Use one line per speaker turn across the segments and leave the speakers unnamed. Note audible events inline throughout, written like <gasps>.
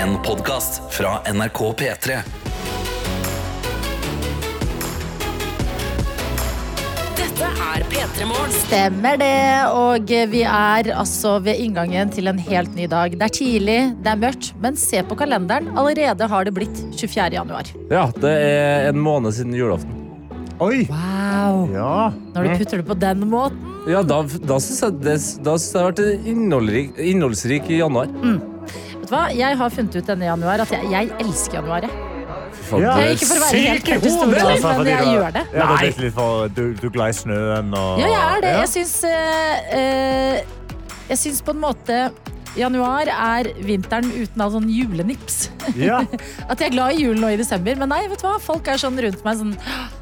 En podcast fra NRK P3
Dette er P3 Morgen.
Stemmer det. Og vi er altså ved inngangen til en helt ny dag. Det er tidlig, det er mørkt, men se på kalenderen. Allerede har det blitt 24. januar.
Ja, det er en måned siden julaften.
Oi!
Wow.
Ja. Mm.
Når du putter det på den måten.
Ja, Da, da syns jeg, det- da synes jeg det har vært en innholdrik, innholdsrik i januar.
Vet du hva? Jeg har funnet ut denne januar at jeg, jeg elsker januar. jeg.
Faen,
Ja.
det-
Ikke for å være helt
Syk i
kort i
hodet!
historien,
Altså,
men
fordi
jeg
du-
gjør det.
Ja, du er
Nei.
blitt litt for, du, du er glad i snøen og
Ja, jeg er det.
Ah, Ja.
Jeg syns eh, eh, Jeg syns på en måte Januar er vinteren uten all sånn julenips.
Ja.
At jeg er glad i julen nå i desember, men nei, vet du hva? folk er sånn rundt meg sånn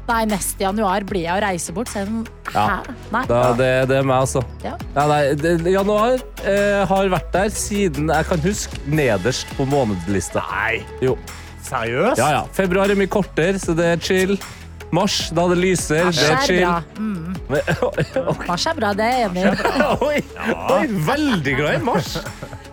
Nei, neste januar blir jeg å reise bort. Så jeg er sånn,
Ja.
Hæ? Nei.
Da, det, det er meg, altså.
Ja.
Nei, nei, det, januar eh, har vært der siden jeg kan huske nederst på månedslista.
Nei,
Jo.
seriøst?
Ja, ja. Februar er mye kortere, så det er chill. Mars, da det lyser, det er
Mars er
chill.
bra. Mm,
Men- <laughs>
mars er bra, det er jeg enig i.
Oi, oi, veldig glad i mars.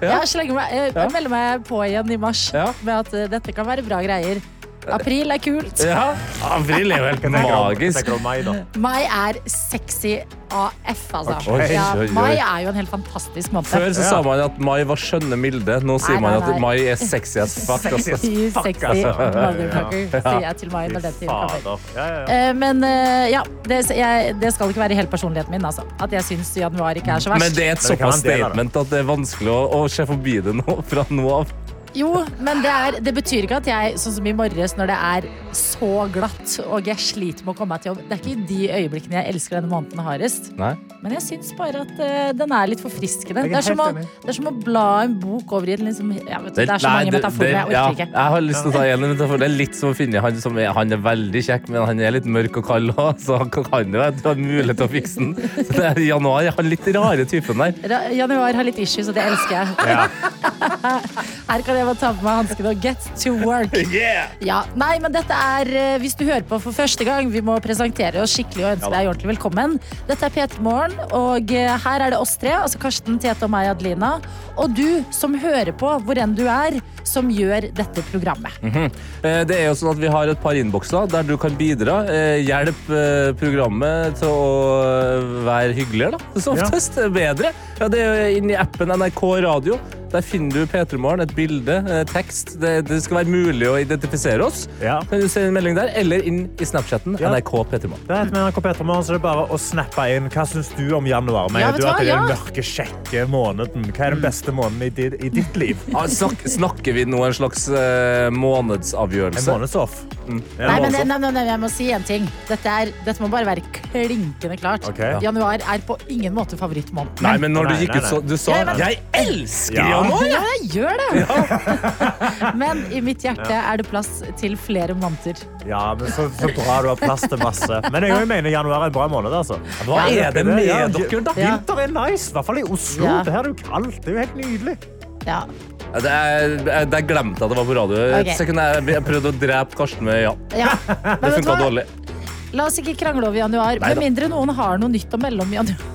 Ja, slenger meg, jeg, jeg melder meg på igjen i mars
Ja.
med at eh, dette kan være bra greier. April er kult.
Ja. April er jo helt
Hva tenker du om- hva
magisk.
tenker du om meg, da?
Mai er sexy AF, altså.
Ok. Oi,
Ja,
oi, oi.
mai er jo en helt fantastisk måned.
Før så
Ja.
sa man at mai var skjønne milde. Nå
Nei,
sier man
nei,
at
nei.
mai er sexy as fuck.
Sexy
Altså.
as
Sexy,
Fuck,
sexy
altså.
motherfucker, sier jeg til mai
Fy
når den tiden kommer.
fader. Ja, ja, ja.
Eh, Men eh, ja, det, jeg, det skal ikke være hele personligheten min, altså. At jeg syns januar ikke er så
Men
verst.
det er et
Men det kan
såpass
være en del av det.
statement at det er vanskelig å, å se forbi det nå, fra nå av.
Jo, men det, er, det betyr ikke at jeg, sånn som i morges, når det er så glatt og jeg sliter med å komme meg til jobb Det er ikke de øyeblikkene jeg elsker denne måneden hardest.
Nei.
Men jeg syns bare at eh, den er litt forfriskende.
Jeg er
Det er, som å,
helt enig.
det er som å bla en bok over i en liksom, ja, vet du, Det er så
Nei,
mange
det- det-
metaforer. Jeg
ja,
orker ikke.
Jeg har lyst til å ta igjen en metafor. Det er litt som å finne han som er, han er veldig kjekk, men han er litt mørk og kald òg, så han kan kan det. være- Du har mulighet til å fikse den. Så det er januar. Jeg har litt rare typen der.
Ra- Januar har litt issues, og det elsker jeg. Her kan jeg bare ta på meg hanskene og get to work.
Yeah!
Ja, nei, men dette er, eh, Hvis du hører på for første gang, vi må presentere oss skikkelig og ønske deg ordentlig velkommen. Dette er P3 Morgen, og eh, her er det oss tre. altså Karsten, Tete og meg, Adelina. Og du som hører på, hvor enn du er, som gjør dette programmet.
Eh, Det er jo sånn at Vi har et par innbokser der du kan bidra. Eh, Hjelp eh, programmet til å eh, være hyggeligere, da. Som
Ja.
oftest. eh, Bedre. Ja, det er jo inni appen NRK Radio. Der finner du P3 Morgen, et bilde, eh, tekst. Det, det skal være mulig å identifisere oss.
Ja.
Kan du sende en melding der, eller inn i Snapchatten
Ja.
NRK P3 Morgen.
Det er et med NRK Petra Morgen, så det er bare å snappe inn. Hva syns du om januar? Mener
Ja, vet
du
du
at
hva?
det er den
Ja.
mørke, kjekke måneden? Hva er den beste måneden i ditt, i
<laughs>
ditt liv?
Ja, Ah, snak, snakker vi nå en slags eh,
En
månedsavgjørelse?
månedsoff?
Mm.
En
Nei, men
månedsoff.
nei, nei, nei, jeg må si en ting. Dette, er, dette må bare være klinkende klart.
Ok.
Januar er på ingen måte favorittmåneden.
Nei, men når
Nei,
du gikk
nei,
ut,
nei.
så du sa
Ja, men-
Jeg elsker
Ja.
januar!
Ja, jeg gjør det! <laughs> men i mitt hjerte er det plass til flere måneder.
Ja, men så, så bra du har plass til masse. Men jeg også mener januar er en bra måned. altså.
Hva er det med dere, da?
Ja.
Vinter er nice, i hvert fall i Oslo.
Ja.
Det her er jo kaldt. Det er jo helt nydelig.
Ja,
Ja, Det er, jeg- der glemte jeg at det var på radio. Et
Ok.
sekund, jeg, jeg prøvde å drepe Karsten med ja. <laughs>
ja. Men vet
Det
du
funka
hva?
dårlig.
La oss ikke krangle over januar,
Neida.
med mindre noen har noe nytt å melde om januar. <laughs>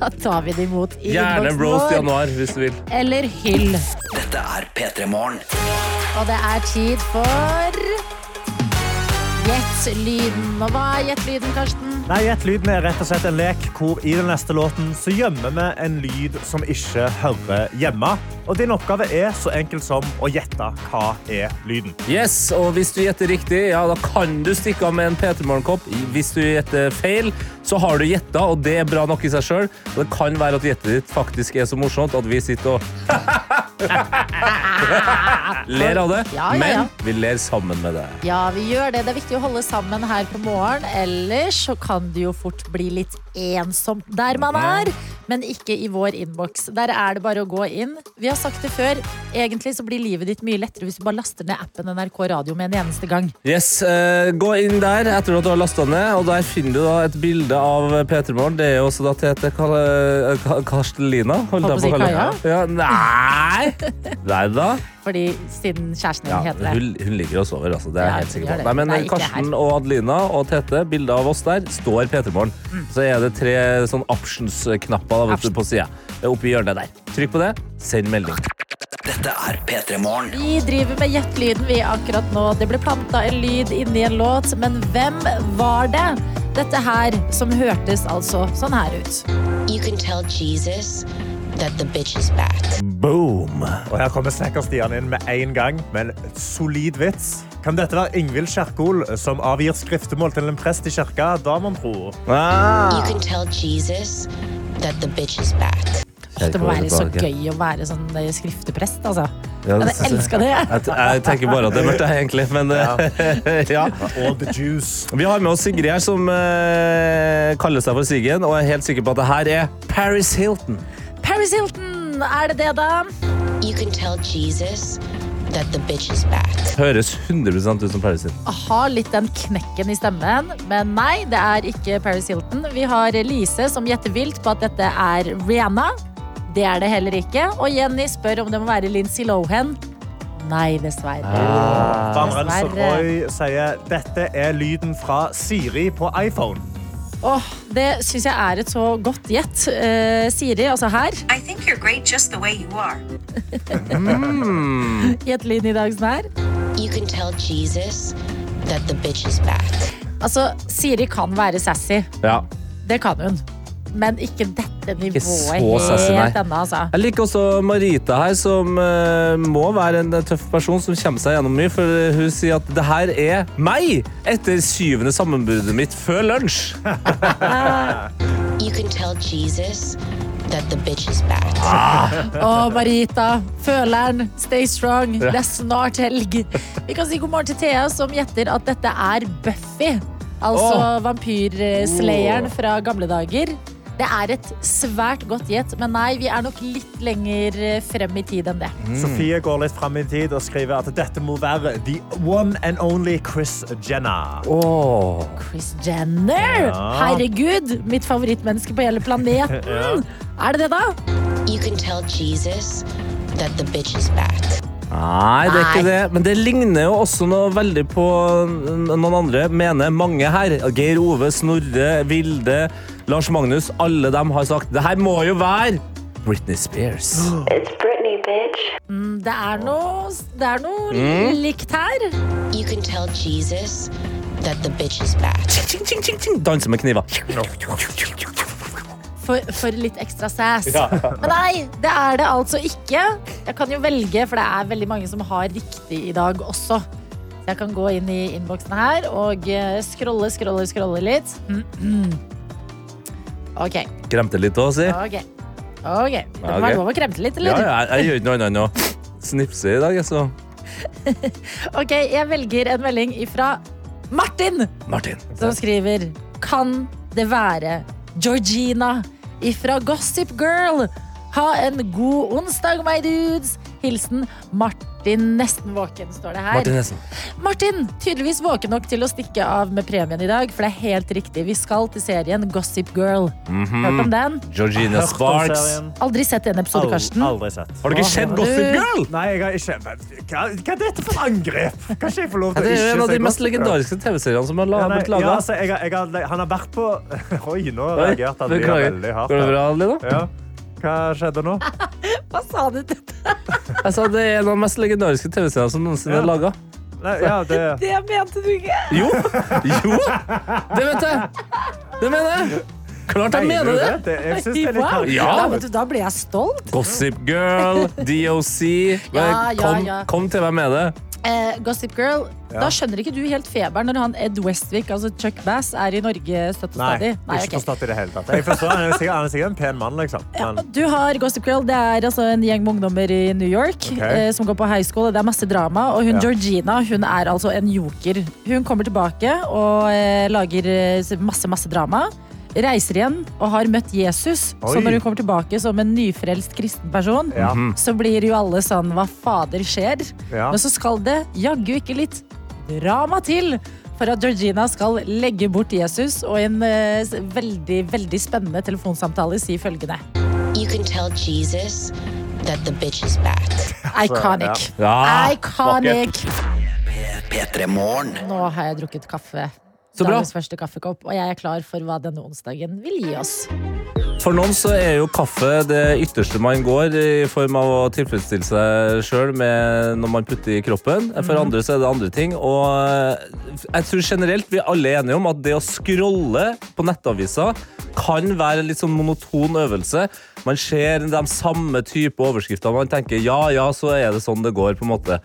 Da tar vi det imot i
Gjerne
innboksen
roast
vår,
januar hvis du vil.
Eller hyll.
Dette er P3 Morgen
Og det er tid for Gjett lyden. Og hva er gjett lyden, Karsten?
Nei, Gjett lyden er rett og slett en lek hvor i den neste låten så gjemmer vi en lyd som ikke hører hjemme. Og din oppgave er så enkel som å gjette hva er lyden.
Yes, og Hvis du gjetter riktig, ja, da kan du stikke av med en P3 Morgen-kopp. Hvis du gjetter feil, så har du gjetta, og det er bra nok i seg sjøl. Det kan være at gjettet ditt faktisk er så morsomt at vi sitter og <laughs> ler av det.
Ja, ja, ja.
Men vi ler sammen med deg.
Ja, vi gjør det. Det er viktig å holde sammen her på morgen. Ellers så kan det jo fort bli litt ensomt der man er, men ikke i vår innboks. Der er det bare å gå inn. Vi har sagt det før. Egentlig så blir livet ditt mye lettere hvis du bare laster ned appen NRK Radio med en eneste gang.
Yes, eh, Gå inn der etter at du har lasta ned, og der finner du da et bilde av P3 Morgen. Det er jo også da Tete Kal eh, Ka- Karstelina. holdt
Holdt på å
jeg å
si
kalle henne. Ja, nei! Nei da.
Fordi siden kjæresten din
Ja,
heter det.
hun, hun ligger oss over, altså. Det er
Ja,
jeg helt sikker
hun gjør
på.
det.
Nei, men
Nei,
eh,
ikke her.
Karsten og Adelina og Tete, bilde av oss der, står P3 Morgen.
Mm.
Så er det tre sånn options-knapper da, vet du, på sida. Oppe i hjørnet der. Trykk på det. Send melding.
Dette er P3 Morgen.
Vi driver med gjettelyden vi akkurat nå. Det ble planta en lyd inni en låt, men hvem var det? Dette her, som hørtes altså sånn her ut.
You can tell Jesus that the bitch is back.
Boom! Og her kommer Snekker-Stian inn med en gang, men et solid vits. Kan dette være Ingvild Kjerkol eh, som avgir skriftemål til en prest i kirka? Da mon tro.
You can tell Jesus that the bitch is back.
Det må være så gøy å være sånn eh, skrifteprest, altså.
Ja, det
Jeg
synes jeg.
elsker det.
Jeg, jeg tenker bare at det er mørkt, jeg, egentlig. Men eh, <laughs> ja.
All the juice.
Vi har med oss Sigrid her, som eh, kaller seg for Siggen, og er helt sikker på at det her er Paris Hilton.
Paris Hilton, er det det, da?
You can tell Jesus that the bitch is back.
Høres 100 ut som Paris Hilton.
Har litt den knekken i stemmen, men nei, det er ikke Paris Hilton. Vi har Lise som gjetter vilt på at dette er Rihanna. Det er det heller ikke. Og Jenny spør om det må være Lindsay Lohan. Nei, dessverre.
Ah.
Van
Dessverre.
Renseroy sier dette er lyden fra Siri på iPhone.
Åh, det syns jeg er et så godt gjett. Eh, Siri, altså her,
I think you're great just the way you are.
<laughs> gjett lyden i dag som er.
You can tell Jesus that the bitch is back.
Altså, Siri kan være sassy.
Ja.
Det kan hun. Men ikke dette nivået
så sassy, nei.
helt ennå, altså.
Jeg liker også Marita her, som eh, må være en tøff person som kommer seg gjennom mye, for eh, hun sier at det her er meg etter syvende sammenbruddet mitt før lunsj.
You can tell Jesus that the bitch is back.
Å, Marita. Føleren. Stay strong. Det er snart helg. Vi kan si god morgen til Thea, som gjetter at dette er Buffy. Altså vampyrslayeren fra gamle dager. Det er et svært godt gjett, men nei, vi er nok litt lenger frem i tid enn det.
Mm.
Sofie går litt fram i tid og skriver at dette må være the one and only Chris Jenner.
Åh.
Chris Jenner!
Ja.
Herregud, mitt favorittmenneske på hele
<laughs>
planeten. Er det det, da?
You can tell Jesus that the bitch is back.
Nei, det er ikke det. Men det ligner jo også noe veldig på n- noen andre, mener mange her. Geir Ove, Snorre, Vilde, Lars Magnus. Alle dem har sagt det her må jo være Britney Spears. <gasps>
It's Britney, bitch.
Det er noe, det er noe
Mm.
likt her.
You can tell Jesus that the bitch is back.
Tjing, tjing, tjing, tjing. Danse med kniver.
For, for litt ekstra sass. <laughs> Men nei, det er det altså ikke. Jeg kan jo velge, for det er veldig mange som har riktig i dag også. Så jeg kan gå inn i innboksen her og eh, scrolle, scrolle, scrolle litt. <clears throat> OK.
Kremte litt òg, si. Ja,
ok. Ok, Det må
Ja, ok.
være lov å kremte litt, eller?
ja, jeg, jeg gjør ikke noe annet enn å snipse i dag, jeg, så.
Ok, jeg velger en melding ifra Martin,
Martin.
som skriver Kan det være Georgina ifra Gossip Girl? Ha en god onsdag, my dudes! Hilsen Martin nesten våken, står det her.
Martin Nessen.
Martin, tydeligvis våken nok til å stikke av med premien i dag, for det er helt riktig. Vi skal til serien Gossip Girl.
Mhm.
Hørt om den?
Georgina
Hørt om
Sparks.
serien?
Aldri sett en episode,
Al-
Karsten.
Aldri sett.
Har dere ikke sett Gossip Girl?
Nei, jeg har ikke. Men Hva, hva er dette for et angrep? Kan ikke jeg få lov
Ja,
til å
det er jo
ikke
en av
se
de mest
Gossip Girl?
legendariske TV-seriene som har la-
Ja, nei,
blitt
ja,
laga.
altså, jeg, har- jeg, har- han har vært på <laughs> Oi, nå reagerte han Lia
Beklager.
veldig hardt.
Går det
her.
bra, Lina?
Ja. Hva skjedde nå?
Hva sa du til
Jeg sa det er en av de mest legendariske TV-seriene som noensinne
Ja.
er laga.
Nei, ja, det...
det? Mente du ikke?
Jo! <laughs> Jo! Det vet jeg! Det mener jeg! Klart jeg mener det!
det? Jeg syns det er litt
Wow.
hardt.
Ja.
Da, vet du, da ble jeg stolt.
Gossip Girl, DOC
Ja, ja,
kom,
ja.
kom til meg med det.
Eh, Gossip Girl, da skjønner ikke du helt feberen når han Ed Westwick, altså Chuck Bass, er i Norge støtt og
Nei,
stadig.
ikke
ok.
forstått i det hele tatt. Jeg forstår, han er sikkert, han er sikkert en pen mann, liksom. Men
Du har Gossip Girl, det er altså en gjeng med ungdommer i New York eh, som går på high school, og det er masse drama. Og hun
Ja.
Georgina hun er altså en joker. Hun kommer tilbake og eh, lager eh, masse, masse drama. Reiser igjen og har møtt Jesus.
Oi.
Så når hun kommer tilbake som en nyfrelst kristen person,
ja.
så blir jo alle sånn hva fader skjer.
Ja.
Men så skal det jaggu ikke litt drama til for at Georgina skal legge bort Jesus og i en eh, s- veldig, veldig spennende telefonsamtale si følgende.
You can tell Jesus that the bitch is back.
Iconic.
Ja,
Iconic.
P3 Morgen.
Nå har jeg drukket kaffe.
Så bra.
Dagens første kaffekopp, og jeg er klar for hva denne onsdagen vil gi oss.
For noen så er jo kaffe det ytterste man går i form av å tilfredsstille seg sjøl med når man putter i kroppen. For andre så er det andre ting. Og eh, jeg tror generelt vi alle er enige om at det å scrolle på nettaviser kan være en litt sånn monoton øvelse. Man ser de samme type overskrifter. Man tenker ja, ja, så er det sånn det går. på en måte.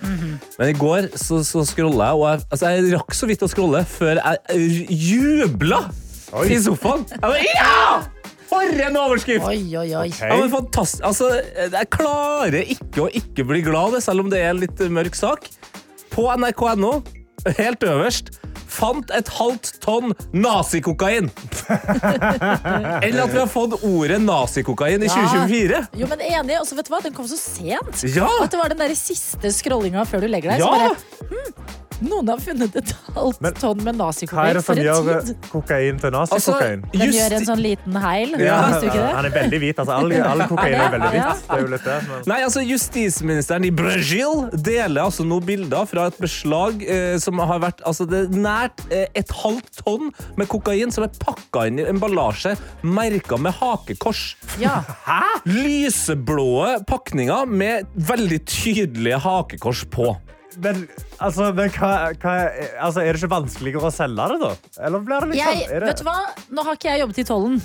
Men i går så, så scrolla jeg, og jeg, altså, jeg rakk så vidt å scrolle før jeg eh, jubla
Oi.
i sofaen. Jeg bare, ja! For en overskrift!
Oi, oi, oi.
Ja, men fantast- altså, jeg klarer ikke å ikke bli glad, det, selv om det er en litt mørk sak. På nrk.no, helt øverst, fant et halvt tonn nazikokain. Eller at vi har fått ordet nazikokain i 2024.
Jo, men enig. Og så vet du hva, den kom så sent.
Ja!
At det var den der siste scrollinga før du legger deg.
Ja!
Så bare, hm, noen har funnet et halvt
Men
tonn med
Hva er
nazikokain
det som
for
gjør
en
eh,
tid.
kokain til
Altså,
nazikokain?
Den
justi-
gjør en sånn liten heil.
Ja.
Visste du ikke det?
han er veldig hvit. Altså, all, all kokain er veldig
Ja.
hvit. Det er jo litt det, men...
Nei, altså Justisministeren i Brasil deler altså nå bilder fra et beslag eh, som har vært altså det er nært eh, et halvt tonn med kokain som er pakka inn i emballasje merka med hakekors.
Ja.
Lyseblå pakninger med veldig tydelige hakekors på.
Men, altså, men hva, hva, altså, er det ikke vanskeligere å selge det, da? Eller blir det litt
Jeg,
sånn? er
vet du
det-
hva? Nå har ikke jeg jobbet i tollen.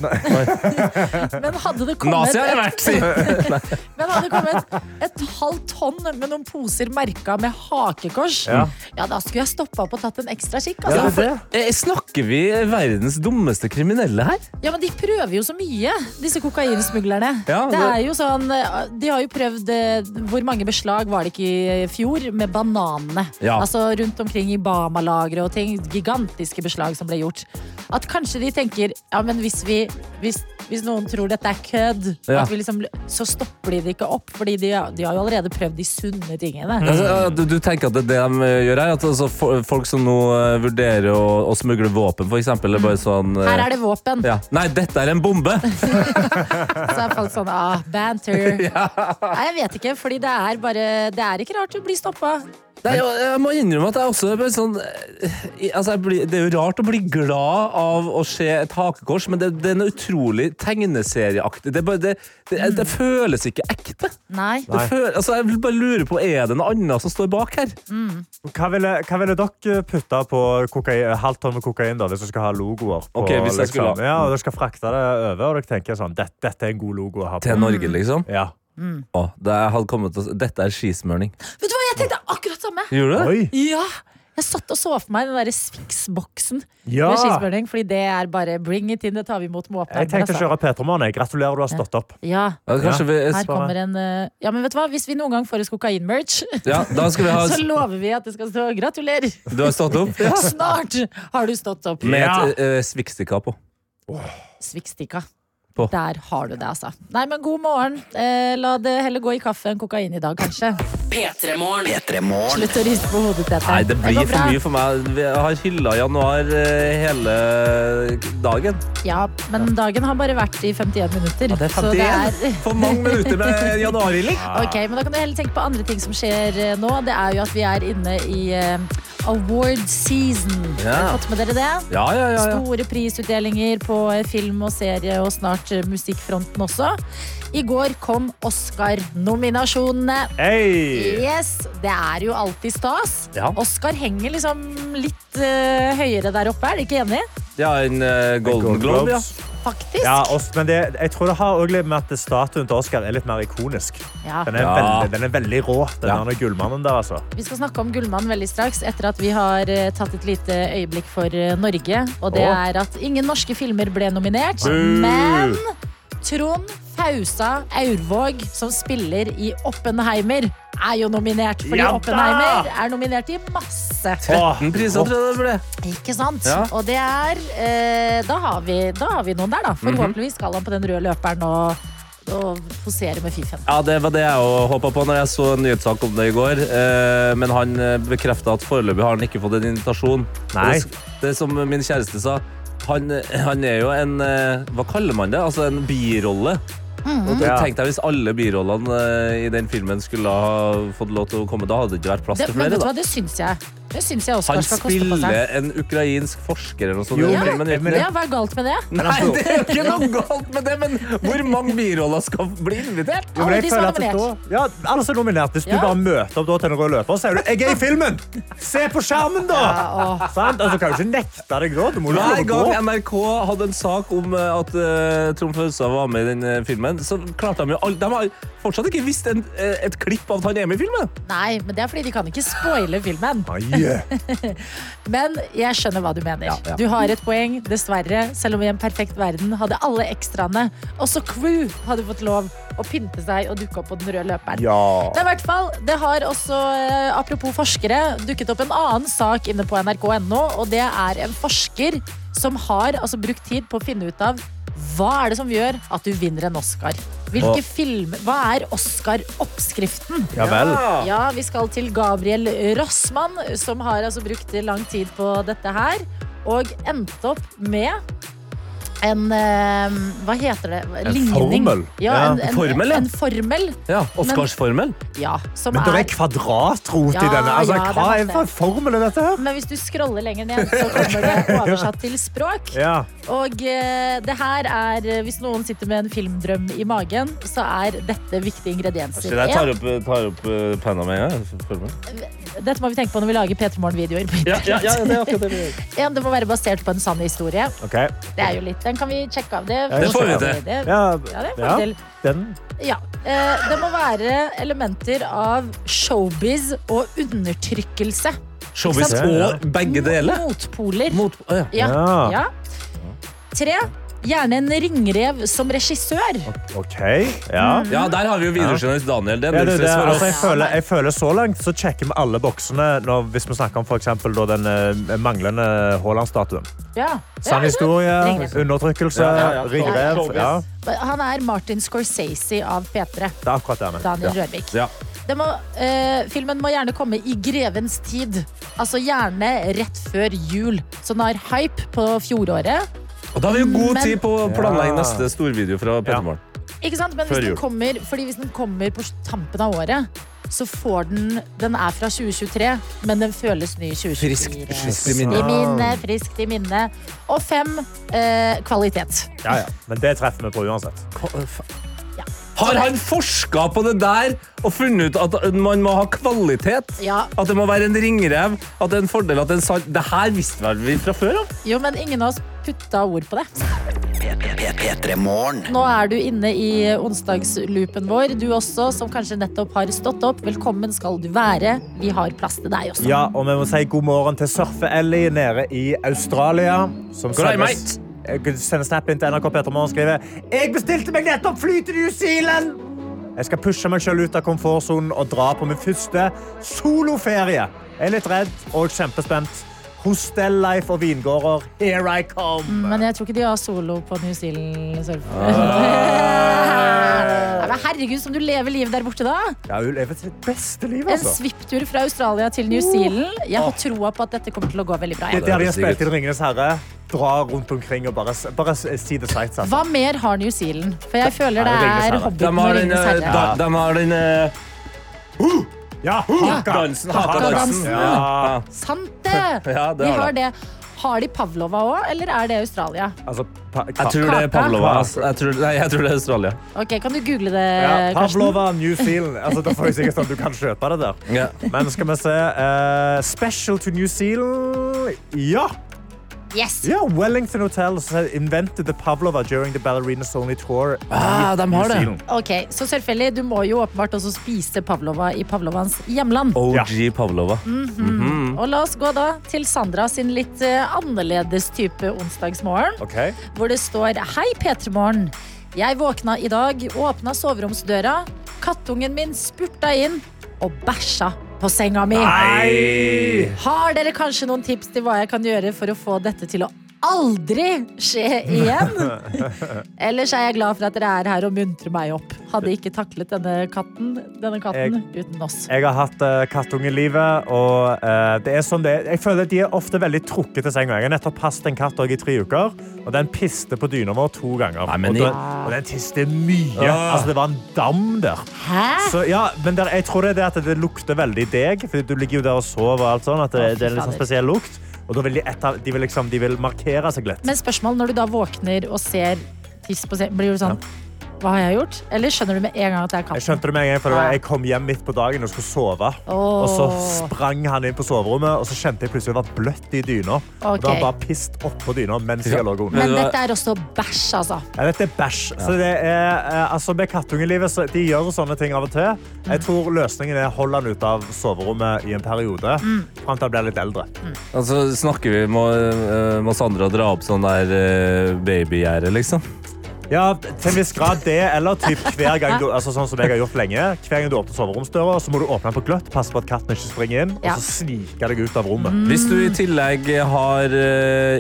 <laughs> men hadde det kommet,
Nazi har det
et,
vært, sier
men hadde det kommet et halvt tonn med noen poser merka med hakekors, ja,
Ja.
da skulle jeg stoppa opp og tatt en ekstra kikk.
Ja,
Altså.
det er det.
Eh, Snakker vi verdens dummeste kriminelle her?
Ja, men de prøver jo så mye, disse kokainsmuglerne.
Ja,
det...
det-
er jo sånn, eh, de har jo prøvd eh, Hvor mange beslag var det ikke i fjor med bananene?
Ja.
Altså rundt omkring i Bama-lagre og ting. Gigantiske beslag som ble gjort. At kanskje de tenker ja, men hvis vi hvis hvis noen tror dette er kødd,
Ja.
at vi liksom, så stopper de det ikke opp. Fordi de, de har jo allerede prøvd de sunne tingene.
Altså, ja, du, du tenker at det, er det de eh, gjør her, at altså, fo- folk som nå eh, vurderer å, å smugle våpen, for eksempel, er bare sånn eh,
Mm. Her er det våpen.
ja. Nei, dette er en bombe!
Så er folk sånn ah, banter.
<laughs>
Nei, jeg vet ikke, fordi det er bare Det er ikke rart du blir stoppa.
<laughs> Nei, jeg, jeg må innrømme at jeg også er bare sånn eh, altså jeg blir, Det er jo rart å bli glad av å se et hakekors, men det, det er noe utrolig tegneserieaktig. Det, er bare, det, det, det føles ikke ekte.
Nei.
Det føl, altså jeg vil bare lure på, Er det noe annet som står bak her?
Hva ville, hva ville dere putta på kokain, halvt tonn med kokain da, hvis du skal ha logoer? På, liksom?
Ok, hvis jeg skulle ha-
Ja, og Dere skal frakte det over, og dere tenker sånn Dette, dette er en god logo å ha på.
Til Norge, liksom?
Ja.
Å, det jeg hadde kommet til, å- dette er skismørning.
Vet du hva, jeg tenkte akkurat samme!
Gjorde du det?
Oi!
Ja! Jeg satt og så for meg den derre Swix-boksen
Ja!
med skismøring, fordi det er bare bring it in, det tar vi imot med åpne
Jeg tenkte å
altså.
kjøre P3-morgen. jeg. Gratulerer, du har stått opp.
Ja,
Ja, kanskje vi
her kommer en eh, Ja, men vet du hva, hvis vi noen gang får oss kokain-merch, <laughs>
ja, Da skal vi
så
ha
lover vi at det skal stå 'gratulerer'.
Du har stått opp? Altså-
<laughs>
Ja.
Snart har du stått opp.
Med
Ja.
et uh, svikstika på.
Swix-stikka.
På.
Der har du det, altså. Nei, men god morgen. Eh, la det heller gå i kaffe enn kokain i dag, kanskje.
P3morgen.
P3 Morgen.
Slutt å riste på hodet, Tete.
Nei, det blir
går bra.
for mye for meg. Jeg har hylla januar eh, hele dagen.
Ja, men dagen har bare vært i 51 minutter. så det er
For mange minutter med januarhylling.
<laughs> Ok, men Da kan du heller tenke på andre ting som skjer eh, nå. Det er jo at vi er inne i eh, award season.
Ja.
Har dere fått med dere det?
Ja, ja, ja, ja.
Store prisutdelinger på eh, film og serie, og snart eh, musikkfronten også. I går kom Oscar-nominasjonene.
Hei!
Yes, Det er jo alltid stas.
Ja.
Oscar henger liksom litt eh, høyere der oppe, er du ikke enig?
ja en eh, Golden Globe, ja.
Faktisk.
Ja, oss, men det, jeg tror det har også litt med at statuen til Oscar er litt mer ikonisk.
Ja.
Den er,
Ja.
veldig, den er veldig rå, den
Ja.
ja. gullmannen der, altså.
Vi skal snakke om Gullmann veldig straks, etter at vi har eh, tatt et lite øyeblikk for eh, Norge. Og det
Åh.
er at ingen norske filmer ble nominert,
Buh!
men Trond Fausa Aurvåg, som spiller i Oppenheimer, er jo nominert. Fordi
Ja da!
Oppenheimer er nominert i masse.
Den prisen tror jeg det ble.
Ikke sant?
Ja.
Og det er eh, da, har vi, da har vi noen der, da.
Mhm.
Forhåpentligvis skal han på den røde løperen og, og posere med Fifen.
Ja, Det var det jeg håpa på når jeg så en nyhetssak om det i går. Eh, Men han bekrefta at foreløpig har han ikke fått en invitasjon.
Nei.
Det, det som min kjæreste sa, han, han er jo en eh, Hva kaller man det? Altså en birolle.
Mhm.
Og
Ja.
Tenk deg hvis alle birollene eh, i den filmen skulle ha fått lov til å komme. Da hadde det ikke vært plass
Det,
til
men
flere.
vet du
da.
hva, det syns jeg. Det syns jeg Oskar
Han
skal koste på seg.
spiller en ukrainsk forsker eller noe sånt.
Jo,
i
men-
filmen, gjør han
men-
ikke
Ja, hva er galt med det?
det? Nei, <laughs>
altså,
det er jo ikke noe galt med det, men hvor mange biroller skal bli invitert?
Jo, men
Alle
jeg
de som er
føler at det
nominert.
da- Ja, alle som er nominert. Hvis du
Ja.
bare møter opp da til den røde løper, så er du «Jeg er i filmen! Se på skjermen, da! Sant? Altså, du kan jo ikke nekte deg da. Du må jo
Hver
lov å
gang
gå.
NRK hadde en sak om eh, at eh, Trond Fausa var med i den eh, filmen, så klarte de jo all- De har fortsatt ikke visst en, eh, et klipp av at han er med i filmen.
Nei, men det er fordi de kan ikke spoile filmen.
Ah, Nei.
Men jeg skjønner hva du mener.
ja.
Du har et poeng, dessverre. Selv om i en perfekt verden hadde alle ekstraene, også crew, hadde fått lov å pynte seg og dukke opp på den røde løperen.
Ja.
Det er i hvert fall, det har også, eh, apropos forskere, dukket opp en annen sak inne på nrk.no, og det er en forsker som har altså, brukt tid på å finne ut av hva er det som gjør at du vinner en Oscar? Hvilke film, hva er Oscar-oppskriften?
Ja vel.
Ah.
Ja, vi skal til Gabriel Rossmann, som har altså brukt lang tid på dette her. Og endte opp med en eh, Hva heter det?
En
Ligning.
formel.
Ja,
Ja,
en, en,
formel, ja.
En formel,
Ja, Oscarsformel.
ja, som
Men det er
er
kvadratrot i
Ja,
denne. Altså,
ja, det
hva
er
er for formel er dette her?
men hvis du scroller lenger ned, så kommer
<laughs>
det oversatt til språk.
Ja.
Og eh, det her er eh, Hvis noen sitter med en filmdrøm i magen, så er dette viktige ingredienser.
Jeg
En,
tar opp, tar opp eh, penna med en gang.
dette må vi tenke på når vi lager P3 Morgen-videoer. på
Ja, ja, ja,
internett.
det er akkurat det vi gjør.
En, det må være basert på en sann historie.
Ok.
Det er jo litt, Den kan vi sjekke av. Det,
Det får vi
til.
Det,
Ja,
ja, det er en
ja.
fordel.
Den.
Ja. Eh, det må være elementer av showbiz og undertrykkelse.
Showbiz
Ikke sant?
og begge deler.
Motpoler.
Mot, å, ja.
ja.
Ja.
Ja. Tre. Gjerne en ringrev som regissør.
Ok. Ja.
ja, der har vi jo videojournalist Daniel. Det er
Ja, det, er
null
det,
stress for
altså, jeg,
oss.
føler, jeg føler Så langt så sjekker vi alle boksene når, hvis vi snakker om for eksempel, da, den eh, manglende Haaland-statuen.
Ja.
Sann historie,
Ringrev.
undertrykkelse, ringrev. Ja,
Han er Martin Scorsese av P3.
det er akkurat det. han er.
Daniel Rørvik.
Ja.
Det må, eh, filmen må gjerne komme i grevens tid. Altså gjerne rett før jul. Så den har hype på fjoråret.
Og da har vi jo god
Men-
tid på å planlegge
Ja.
neste storvideo fra
Ja.
Pettermorgen.
Ikke sant? Men
Før
hvis den,
jul.
kommer, fordi hvis den kommer på tampen av året, så får den Den er fra 2023, men den føles ny i 2024.
Friskt- friskt i minne.
I minne, friskt i minne. Og fem eh, kvalitet.
Ja, ja. Men det treffer vi på uansett.
Har han forska på det der og funnet ut at man må ha kvalitet?
Ja.
At det må være en ringrev? At det er en fordel at det er en sal... Det her visste vel vi fra før av?
Jo, men ingen av oss putta ord på det.
P3morgen.
Nå er du inne i onsdagsloopen vår, du også, som kanskje nettopp har stått opp. Velkommen skal du være. Vi har plass til deg også.
Ja, og vi må si god morgen til Surfe-Ellie nede i Australia. Som
Good day,
sendes- eh, sender snap inn til NRK Petermann og skriver Jeg bestilte meg nettopp fly til New Zealand! Jeg skal pushe meg selv ut av komfortsonen og dra på min første soloferie. Jeg er litt redd og kjempespent. Hostellife og vingårder. Here I come!
Men jeg tror ikke de har solo på New Zealand. sorry.
Ah.
<laughs> Nei, men Herregud, som du lever livet der borte, da!
Ja, hun lever sitt beste liv,
En
altså.
svipptur fra Australia til New Zealand. Jeg har troa på at dette kommer til å gå veldig bra.
Det er
jeg.
der de har
sikkert.
spilt inn Ringenes herre. Dra rundt omkring og bare, bare si the sights. Altså.
Hva mer har New Zealand? For jeg føler det
Nei, det er
er
Ringenes Herre.
De
Hobbiten og
har den,
Ringenes
eh,
herre.
da- de har den eh,
Ja, haka.
dansen. Haka dansen.
Ja.
Sant det!
Ja, det
Vi
har
har
de.
det. Har de Pavlova òg, eller er det Australia?
Altså, pa
Jeg tror det
Kaka.
er Pavlova. ass. Jeg tror, nei, jeg tror det er Australia.
Ok, Kan du google det,
ja,
Eh, Karsten?
Pavlova, New Zealand. Altså, da får jeg sikkert sånn du kan kjøpe det der.
Ja.
Men skal vi se eh, Special to New Zealand. Ja!
Yes!
ja Wellington Hotel said invented the Pavlova during the ballerinas only tour. i
Ah, de har
New
det.
Zealand.
Ok, Så selvfølgelig, du må jo åpenbart også spise Pavlova i Pavlovans hjemland.
OG Pavlova.
Og la oss gå da til Sandra sin litt eh, annerledes type onsdagsmorgen.
Ok.
hvor det står Hei, P3morgen. Jeg våkna i dag, åpna soveromsdøra. Kattungen min spurta inn og bæsja på senga mi. Har dere kanskje noen tips til hva jeg kan gjøre for å få dette til å aldri skje igjen.
<laughs>
Ellers er jeg glad for at dere er her og muntrer meg opp. Hadde ikke taklet denne katten, denne katten uten oss.
Jeg har hatt uh, kattungelivet, og eh, det er sånn det er. Jeg føler at de er ofte veldig trukket til senga. Jeg har nettopp passet en katt også i tre uker, og den piste på dyna vår to ganger.
Nei, men
og,
i-
den, og den tiste mye.
Ah.
Altså, det var en dam der.
Hæ?
Så, ja, men der, jeg tror det er det at det lukter veldig deg, for du ligger jo der og sover og alt sånn, at det,
Å, fy
det er en litt sånn
fader.
spesiell lukt. Og da vil de, etter, de, vil liksom, de vil markere seg litt.
Men spørsmål, når du da våkner og ser tiss på sengen, blir du sånn Hva har jeg gjort? Eller skjønner du med en gang at det er
Jeg
katten?
skjønte det med en gang, for det var- jeg kom hjem midt på dagen og skulle sove.
Åh.
Og så sprang han inn på soverommet, og så kjente jeg plutselig at det var bløtt i dyna. Og da
Ok.
var bare pist oppå dyna mens jeg lå under.
Men
Men det var-
dette er også bæsj, altså.
Ja, dette er bæsj. Så det er, eh, altså med kattungelivet, så de gjør jo sånne ting av og til.
Mm.
Jeg tror løsningen er å holde han ut av soverommet i en periode,
Mm.
frem til han blir litt eldre.
Altså, snakker vi må, eh, må Sandra dra opp sånn der eh, babygjerde, liksom?
Ja, til en viss grad det, eller typ hver gang du, altså sånn som jeg har gjort lenge, hver gang du åpner soveromsdøra, så må du åpne den på gløtt, passe på at katten ikke springer inn,
Ja. Mm.
og så sniker deg ut av rommet.
Hvis du i tillegg har eh,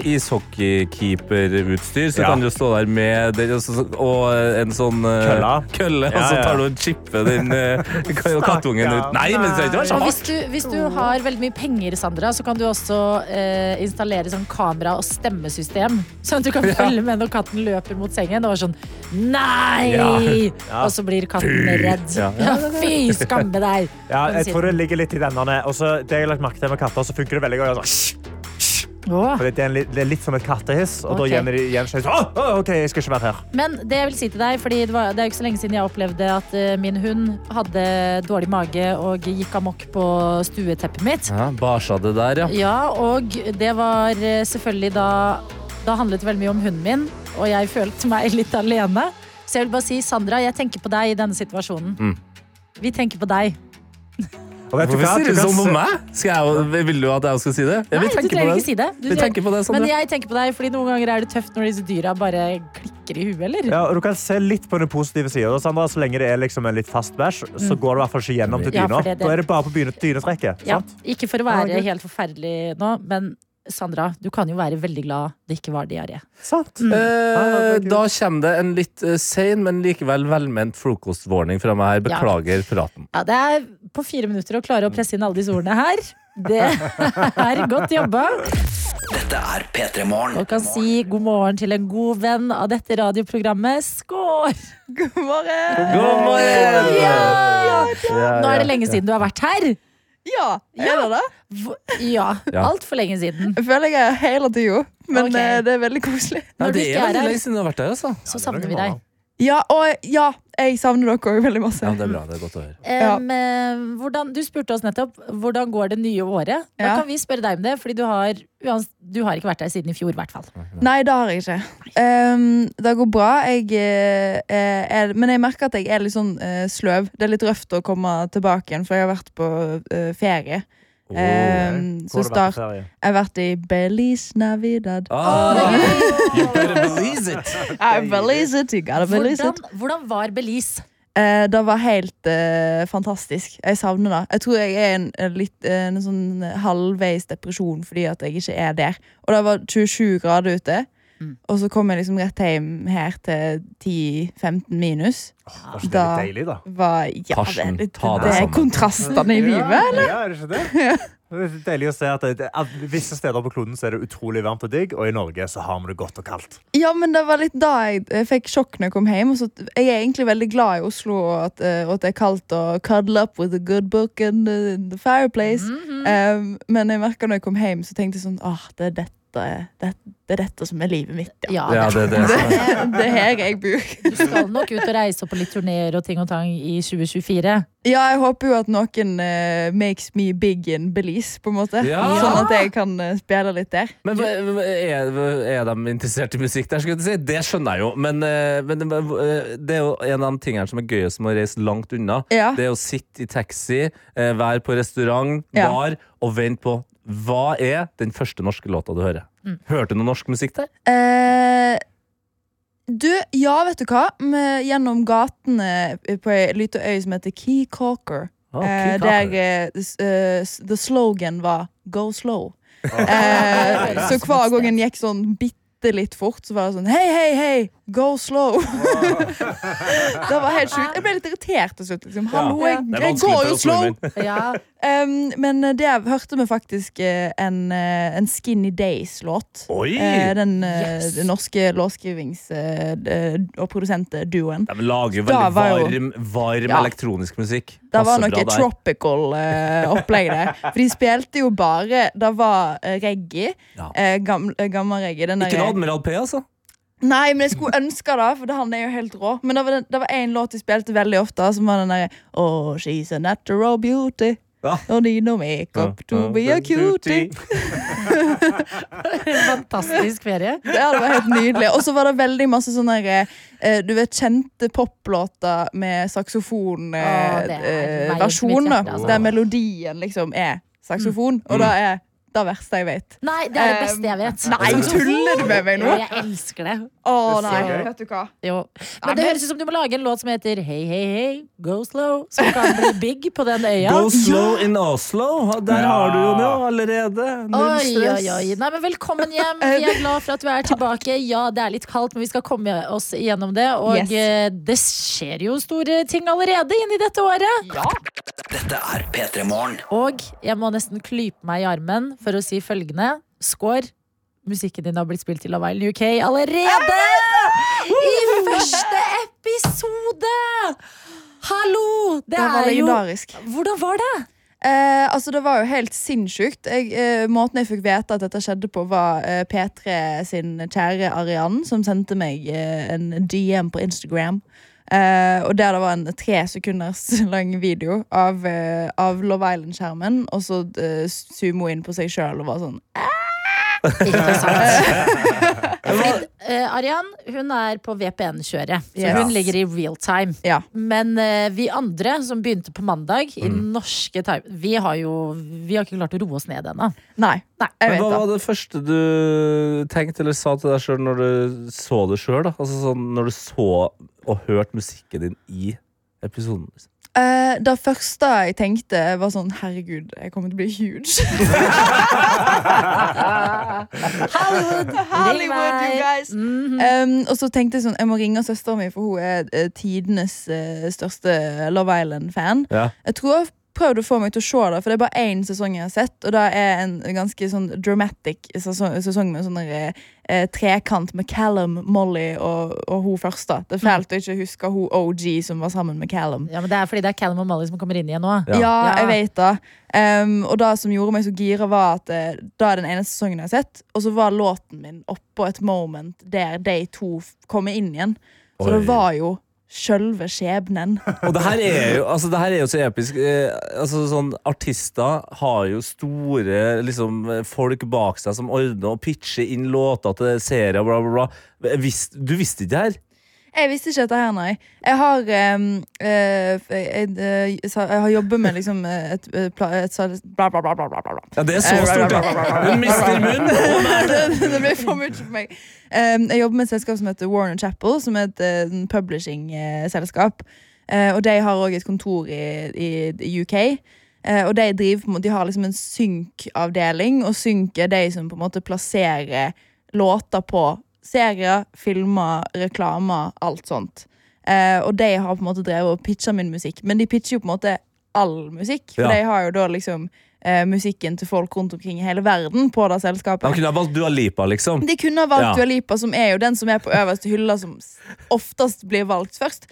ishockeykeeperutstyr, så
Ja.
kan du stå der med den, og, så- og eh, en sånn eh,
Kølla.
kølle, og
Ja,
så
ja.
tar du og chipper den eh, <laughs> kattungen ut. Nei, men det trenger ikke være så
Og hvis
hardt.
du, hvis du har veldig mye penger, Sandra, så kan du også eh, installere sånn kamera- og stemmesystem. Sånn at
<laughs>
du kan følge med når katten løper mot sengen og er sånn Nei!
Ja.
<laughs>
Ja.
Og så blir katten redd. <laughs> Ja.
Ja.
Fy, skamme deg!
<laughs> Ja,
kan du
jeg
si.
tror det ligger litt i denne. Og så det jeg har lagt merke til med katter, så funker det veldig godt. å gjøre sånn,
Åh.
Fordi det, er en litt, det er litt som et kattehiss, og
Ok.
da gjenkjenner de gjenkjenner de sånn, «Åh, åh, OK, jeg skal ikke være her.
Men det jeg vil si til deg, fordi det, var, det er jo ikke så lenge siden jeg opplevde at eh, min hund hadde dårlig mage og gikk amok på stueteppet mitt.
Ja, Barsa det der, ja.
Ja, og det var eh, selvfølgelig da Da handlet det veldig mye om hunden min, og jeg følte meg <laughs> litt alene. Så jeg vil bare si, Sandra, jeg tenker på deg i denne situasjonen.
Mm.
Vi tenker på deg.
Og vet du
Hvorfor
hva?
sier du
kan
sånn
se-
på meg? Skal jeg, vil du at jeg skal si det? Jeg vil
Nei, du
tenke på
trenger
det.
ikke si det. Du,
Vi tenker på det, Sandra.
Men jeg tenker på deg, fordi noen ganger er det tøft når disse dyra bare klikker i huet, eller?
Ja, og du kan se litt på den positive sida. Sandra, så lenge det er liksom en litt fast bæsj, så går det i hvert fall ikke gjennom til
Mm. Ja,
dyna.
for det er det.
Da er det bare på dyne- dynetrekket.
Ja,
sant?
ikke for å
Ja,
være
ok.
helt forferdelig nå, men Sandra, du kan jo være veldig glad det ikke var diaré.
Sant?
Mm.
Eh, da kommer det en litt eh, sein, men likevel velment frokostvarning fra meg her.
Ja.
Beklager praten.
Ja, det er på fire minutter å klare å presse inn alle disse ordene her. Det <laughs> er godt jobba.
Dette er P3
Og
Morgen.
kan si god morgen til en god venn av dette radioprogrammet. Skår!
God morgen!
God morgen!
Ja!
Ja,
Nå er det
ja.
lenge siden du har vært her.
Ja, gjør det det?
Hv- Ja,
Ja.
altfor lenge siden.
Jeg føler jeg er hele tida, men
Ok.
eh, det er veldig koselig.
Ja,
Når du
det
ikke
er
er
veldig
her,
lenge siden du har vært der, altså.
så savner vi deg.
Ja, og ja, jeg savner dere òg veldig masse.
Ja, det er bra. Det er godt å høre.
Ja.
Em, eh, hvordan, du spurte oss nettopp hvordan går det nye året. Da
Ja.
kan vi spørre deg om det, fordi du har, uans- du har ikke vært der siden i fjor. Hvertfall.
Nei, det har jeg ikke. Ehm, det går bra. Jeg, eh, er, men jeg merker at jeg er litt sånn eh, sløv. Det er litt røft å komme tilbake igjen, for jeg har vært på eh, ferie.
Eh.
Ehm, så start Jeg har vært i Belize Navidad.
Ah. you better believe it!
I believe it, you gotta believe
Hvordan,
it.
hvordan var Belize?
Eh, det var helt eh, fantastisk. Jeg savner det. Jeg tror jeg er en, en litt, en sånn halvveis depresjon fordi at jeg ikke er der. Og det var 27 grader ute. Og så kom jeg liksom rett hjem her til 10-15 minus.
Det
Da-
er litt deilig, da.
Var, ja,
Karsten,
det er, litt,
ta deg
det er
sammen.
kontrastene i livet,
Ja,
eller?
Ja, er det ikke det? Det er deilig å se at, det, at Visse steder på kloden så er det utrolig varmt og digg, og i Norge så har vi det godt og kaldt.
Ja, men det var litt da jeg, jeg fikk sjokk når jeg kom hjem. Og så, jeg er egentlig veldig glad i Oslo og at, eh, og at det er kaldt og cuddle up with a good book and the, the fireplace.
Mhm.
um, men jeg merket når jeg kom hjem, så tenkte jeg sånn Åh, det er dette, det, det er dette som er livet mitt. Ja.
Ja,
Ja, det, er <laughs> det.
<laughs>
Det, det er her jeg bor.
Du skal nok ut og reise og på litt turneer og ting og tang i 2024.
Ja, jeg håper jo at noen eh, makes me big in Belize, på en måte.
Ja.
Sånn at jeg kan eh, spille litt der.
Men hva- er, er de interessert i musikk der, skulle jeg til å si? Det skjønner jeg jo. Men, eh, men eh, det er jo en av de tingene som er gøyest med å reise langt unna.
Ja.
Det er å sitte i taxi, eh, være på restaurant,
Ja.
bar og vente på hva er den første norske låta du hører?
Mm.
Hørte du noe norsk musikk der?
Eh, du, ja, vet du hva? Med, gjennom gatene på ei lita øy som heter Key Calker.
Ah,
eh,
Kid
der
Rock.
eh, s- eh, s- the slogan var 'go slow'. Eh, så hver gang en gikk sånn bitte litt fort, så var det sånn Hei, hei, hei! Go slow! <laughs> det var helt sjukt. Jeg ble litt irritert til slutt. Liksom. Hallo, jeg,
Det er
jeg
vanskelig
går
for
jo
oss
slow!
nordmenn.
Ja.
Um, men eh, der hørte vi faktisk eh, en, eh, en Skinny Days-låt.
<laughs> Oi!
Eh, den, eh,
Yes.
den norske låtskrivings- eh, d- og produsentduoen.
De lager jo
Da
veldig
var jo-
varm, varm
Ja.
elektronisk musikk.
Det var
Passer
noe
bra der.
tropical eh, opplegg der. For de spilte jo bare Det var eh, reggae.
Ja.
eh, gam- eh, gammel reggae. Den
Ikke
der-
noe Admiral P, altså.
Nei, men jeg skulle ønske det, for det- han er jo helt rå. Men det var, den, det var en låt de spilte veldig ofte, som var den derre Oh, she's a natural beauty.
Ja.
Don't need no makeup to be a cutie.
<laughs> Fantastisk ferie.
Ja, det var helt nydelig. Og så var det veldig masse sånne der, eh, du vet, kjente poplåter med
Å, det er veien til mitt hjerte,
saksofonversjon. Uh,
altså. Mm.
der melodien liksom er saksofon. Og
Mm.
det er det verste jeg vet.
Nei, det er det
Um,
beste jeg vet.
Nei, tuller du med meg nå?
Jo, jeg elsker det.
Å
Det
nei,
er så gøy.
vet du hva.
Jo.
Ja,
Men det
men-
høres ut som du må lage en låt som heter Hei, hei, hei, go slow, som kan bli big på den øya.
Go slow in Oslo. Der har du jo det allerede. Null
Oi,
stress.
oi, oi. Nei, men velkommen hjem. Vi er glad for at du er tilbake. Ja, det er litt kaldt, men vi skal komme oss igjennom det. Og
Yes.
eh, det skjer jo store ting allerede inn i dette året.
Dette er P3 Morgen.
Og jeg må nesten klype meg i armen for å si følgende. Skår. Musikken din har blitt spilt i Love Island UK allerede! I første episode! Hallo! Det
Det var
er jo
legendarisk.
Hvordan var det?
Eh, altså, det var jo helt sinnssykt. Jeg, eh, måten jeg fikk vite at dette skjedde på, var eh, P3 sin kjære Arian, som sendte meg eh, en DM på Instagram. Eh, og der det var en tre sekunders <laughs> lang video av, eh, av Love Island-skjermen, og så eh, sumo inn på seg sjøl og var sånn
<laughs> Ikke sant. Fordi, eh, Arian hun er på VPN-kjøret, så
Yes.
hun ligger i real time.
Ja.
Men eh, vi andre som begynte på mandag, i den norske time, vi har jo vi har ikke klart å roe oss ned ennå.
Nei, jeg
Men
vet
hva
det.
var det første du tenkte eller sa til deg sjøl når du så det sjøl? Altså sånn, når du så og hørte musikken din i episoden?
Eh, det første jeg tenkte, var sånn Herregud, jeg kommer til å bli
<laughs>
huge. <laughs>
Hollywood! ring
Hollywood, you
meg!
guys!
Mhm.
Um, og så tenkte jeg sånn, jeg må ringe søsteren min, for hun er eh, tidenes eh, største Love Island-fan.
Ja.
Jeg tror jeg prøvde å få meg til å se det, for det er bare én sesong jeg har sett. Og det er en ganske sånn dramatic sesong, sesong med sånn der, eh, trekant med Callum, Molly og, og hun første. Det er fælt å ikke huske hun OG som var sammen med Callum.
Ja, men Det er fordi det er Callum og Molly som kommer inn igjen nå.
Ja.
Ja,
Ja.
jeg vet det. Ehm, og det som gjorde meg så gira, var at eh, det er den eneste sesongen jeg har sett, og så var låten min oppå et moment der de to f- kommer inn igjen. Så
Oi.
det var jo sjølve skjebnen.
<laughs> Og det her er jo, altså, det her er jo så episk. Eh, altså, sånn, artister har jo store liksom, folk bak seg som ordner og pitcher inn låter til serier. Bla, bla, bla. Visst, du visste ikke det her?
Jeg visste ikke dette her, nei. Jeg har, ehm, eh, f- jeg, eh, sa- jeg har jobbet med liksom eh, et, eh, pla- et, et bla, bla, bla, bla, bla, Eh, bla.
Ja, det er så stort! ja. Du mister munnen!
det, det ble for mye for meg. Um, jeg jobber med et selskap som heter Warner Chapel, som er et uh, publishing-selskap. Uh, og de har òg et kontor i, i, i UK. Uh, og de, driver, på en måte- de har liksom en synkavdeling, og synk er de som på en måte plasserer låter på serier, filmer, reklamer, alt sånt. Eh, og de har på en måte drevet og pitcha min musikk, men de pitcher jo på en måte all musikk.
Ja.
For de har jo da liksom eh, musikken til folk rundt omkring i hele verden på det
De
selskapet.
kunne ha valgt Dua Lipa, liksom.
De kunne ha valgt
Ja.
Dua Lipa, som er jo den som er på øverste hylla, som s- oftest blir valgt først.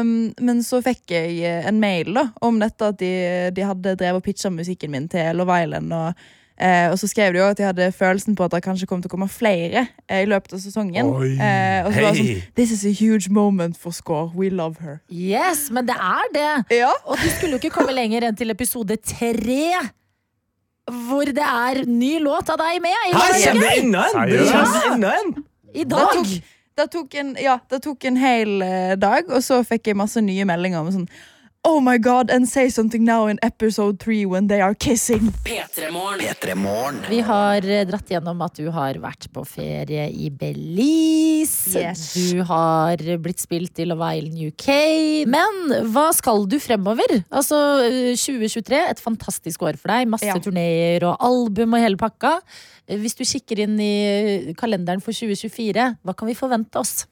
Um, men så fikk jeg eh, en mail da, om dette at de, de hadde drevet og pitcha musikken min til Love Island. Og, eh, og så skrev de jo at de hadde følelsen på at det kanskje kom til å komme flere eh, i løpet av sesongen. Eh, og så var det
Hei.
sånn This is a huge moment for Score. We love her.
Yes, men det er det!
Ja.
Og du skulle jo ikke komme lenger enn til episode tre, hvor det er ny låt av deg med. i
Her
dag.
kommer det enda en! Det
Seriøst?
kommer enda en!
I
Det
dag!
tok, det tok en, ja, det tok en hel eh, dag, og så fikk jeg masse nye meldinger om sånn Oh my god, and say something now in episode three when they are kissing.
P3morgen.
P3morgen.
Vi har eh, dratt gjennom at du har vært på ferie i Belize.
Yes.
Du har blitt spilt i Love Island UK. Men hva skal du fremover? Altså, eh, 2023, et fantastisk år for deg. Masse
Ja.
turneer og album og hele pakka. Eh, Hvis du kikker inn i eh, kalenderen for 2024, hva kan vi forvente oss?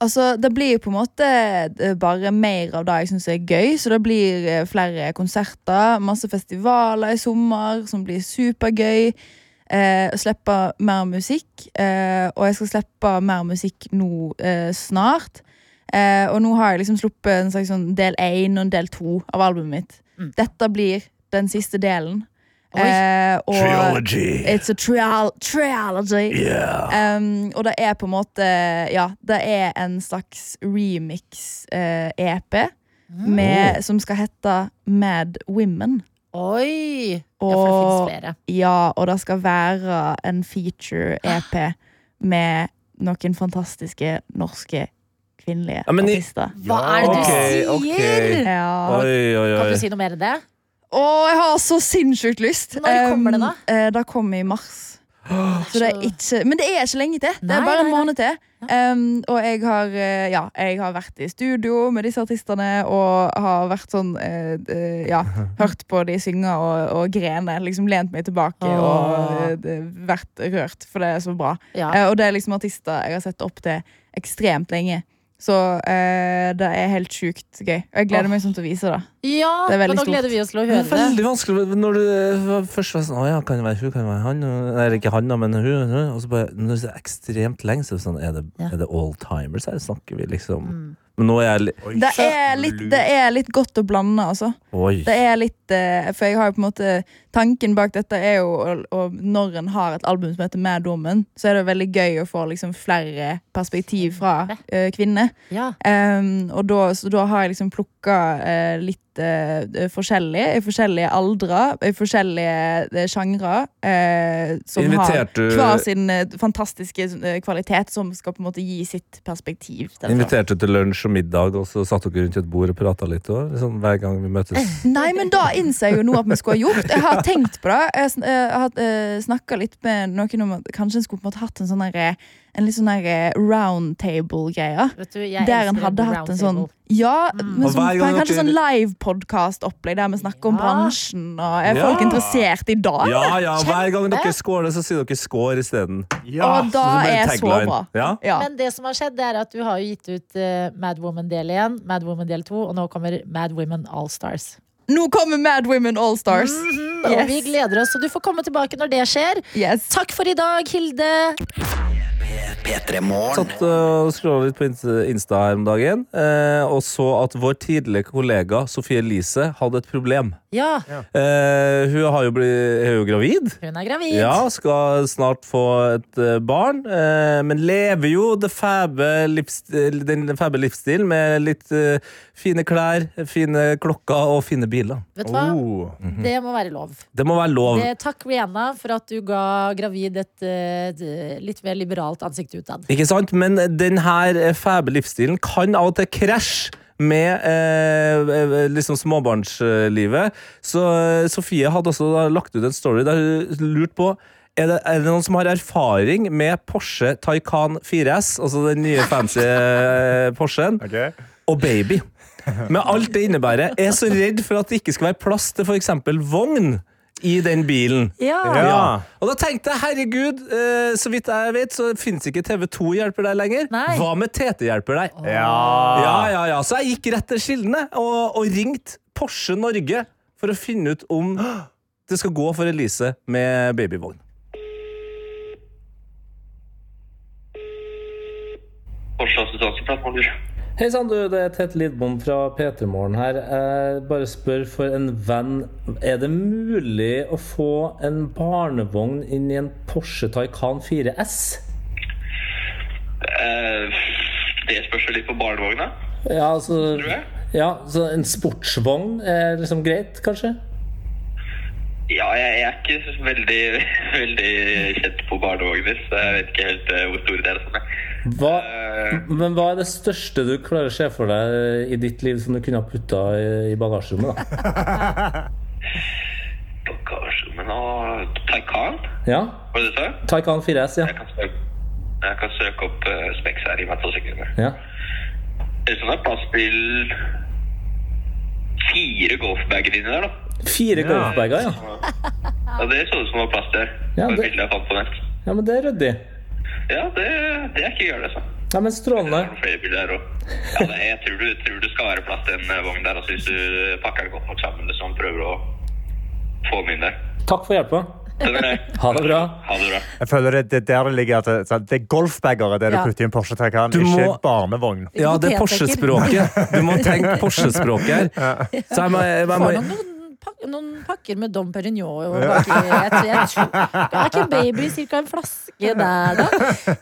Altså, Det blir jo på en måte eh, bare mer av det jeg syns er gøy. Så det blir eh, flere konserter, masse festivaler i sommer som blir supergøy. Eh, slippe mer musikk. Eh, og jeg skal slippe mer musikk nå eh, snart. Eh, og nå har jeg liksom sluppet en slags sånn del én og en del to av albumet mitt.
Mm.
Dette blir den siste delen. Eh, og It's a trial trilogy. Um, og det er på en måte Ja, det er en slags eh, remix-EP
Mm.
som skal hete Mad Women.
Oi! Ja, for det
Og-
finnes flere.
Ja, og det skal være en feature-EP med noen fantastiske norske kvinnelige
Ja, men i-
artister.
Hva er det du sier?
ok, Eh. ok.
Ja.
Oi, oi,
Kan
oi.
du si noe mer enn det?
Og jeg har så sinnssykt lyst.
Når kommer det da?
Um, eh, det kommer i mars. Så det er ikke, men det er ikke lenge til. Det
Nei,
er bare en
nei, nei.
måned til. Um, og jeg har, eh, ja, jeg har vært i studio med disse artistene og har vært sånn eh,
<laughs>
eh, Ja, hørt på de synge og, og grene. Liksom lent meg tilbake og
Åh.
eh, det- vært rørt, for det er så bra.
Ja.
Eh, og det er liksom artister jeg har sett opp til ekstremt lenge. Så eh, det er helt sjukt gøy. Og jeg gleder meg sånn til å vise det.
Ja,
Det er veldig
men nå
stort.
gleder vi oss til å
Det er
høre det.
veldig vanskelig når du eh, først var sånn Å ja, kan det være hun, kan det være han? Eller ikke han, da, men hun. hun. Og så bare Når det er ekstremt lenge, så er det sånn Er det,
Ja.
er det all timers her? Snakker vi liksom
Mm.
Mm.
Men nå er jeg litt
Det er litt, det er litt godt å blande, altså.
Oi.
Det er litt eh, For jeg har jo på en måte Tanken bak dette er jo å- å- Når en har et album som heter Mad Woman, så er det veldig gøy å få liksom flere perspektiv fra eh, kvinner.
Ja.
Em, og da, så da har jeg liksom plukka eh, litt eh, forskjellig. I forskjellige aldre, i forskjellige eh, sjangre. eh, som har
Inviterte du-
hver sin eh, fantastiske eh, kvalitet, som skal på en måte gi sitt perspektiv. til det.
Inviterte til lunsj og middag, og så satt dere rundt et bord og prata litt. Og, liksom, hver gang vi møtes.
<laughs> Nei, men da innser jeg jo nå at vi skulle ha gjort. Jeg har tenkt på det. Jeg, sn- eh, har uh, snakka litt med noen om at kanskje en skulle på en måte hatt en sånn derre- En litt sånn derre roundtable-greie.
Vet du, jeg
Der en
elsker
hadde hatt en sånn
roundtable. Mm.
Ja, men
Og
sånn,
hver gang
kanskje
dere-
sånn live podcast opplegg der vi snakker om
Ja.
bransjen. Og er
Ja.
folk interessert i dag?
Ja, ja, Hver gang dere skåler, så sier dere 'skår' isteden.
Og da
Så det blir
er
en
så
tagline.
bra.
Ja.
Ja.
Men det som har skjedd, det er at du har jo gitt ut eh, Mad Woman del 1, Mad Woman del 2, og nå kommer Mad Women All Stars.
Nå kommer Mad Women All Stars.
Og vi gleder oss, så du får komme tilbake når det skjer.
Yes.
Takk for i dag, Hilde.
P3morgen.
Satt øh, og scrolla litt på Inst- Insta her om dagen, eh, og så at vår tidligere kollega Sofie Elise hadde et problem.
Ja,
Eh, hun har jo blitt, er jo gravid.
hun er gravid.
Ja, skal snart få et eh, barn. eh, Men lever jo det fæbe livs- den fæbe livsstilen med litt eh, fine klær, fine klokker og fine biler.
Vet du hva? Det må være lov.
Det må være lov.
Det, takk Rihanna for at du ga gravid et eh, d- litt mer liberalt ansikt utad.
Ikke sant? Men den her eh, fæbe livsstilen kan av og til krasje med eh, eh, liksom småbarnslivet. Så eh, Sofie hadde også da lagt ut en story der hun lurte på er det, er det noen som har erfaring med Porsche Taycan 4S, altså den nye fancy eh, Porschen, og baby? Med alt det innebærer. Jeg er så redd for at det ikke skal være plass til f.eks. vogn i den bilen.
Ja.
Og da tenkte jeg, herregud, eh, så vidt jeg vet, så finnes ikke TV2 hjelper deg lenger.
Nei.
Hva med TT hjelper deg?
Ja.
Ja, ja, ja. Så jeg gikk rett til kildene og, og ringte Porsche Norge for å finne ut om det skal gå for Elise med babyvogn. Hei sann, du. Det er Tett Lidbom fra P3 Morgen her.
Eh,
Jeg bare spør for en venn. Er det mulig å få en barnevogn inn i en Porsche Taycan 4S?
eh, Det spørs jo litt på barnevogna.
Ja, altså
Tror jeg.
ja, så En sportsvogn er liksom greit, kanskje?
Ja, jeg er ikke veldig, <laughs> veldig kjent på barnevogner, så jeg vet ikke helt eh, hvor store de er. og sånn, jeg.
Hva,
Eh, eh,
Men hva er det største du klarer å se for deg eh, i ditt liv som du kunne ha putta i, i bagasjerommet?
<laughs>
da?
bagasjerommet og Taycan,
Ja?
var det du sa?
Taycan 4S, ja.
Jeg kan søke, jeg kan søke opp uh, Specs her i meg to sekunder.
ja.
Ellers er det plass til fire golfbager inni der, da.
Fire golfbager, ja.
Ja, det så ut som det var plass til.
Ja,
Ja, det...
det-
bildet jeg fant på nett.
Ja, men det er ryddig.
Ja, det, det er ikke gøy, det. Så.
Ja, men strålende.
Flere biler her også. Ja, det, jeg tror, du, tror det skal være plass til en eh, vogn der, altså, hvis du pakker den godt nok sammen, liksom, prøver å få den inn der.
Takk for hjelpa.
Den er,
Ha det bra.
ha det bra.
Jeg føler det, det er der det ligger at det, sant? det er golfbager er det du
Ja.
putter i en Porsche Taycan,
Du
ikke
må-
en barnevogn.
Ja, det er
Potetsekker.
Porsche-språket.
<laughs>
Du må tenke Porsche-språk her. Så jeg må, jeg må,
Får nok noen, pak noen pakker med Dom Perignon og baki. Jeg tror- jeg tror- Er ikke baby cirka en flaske der, da?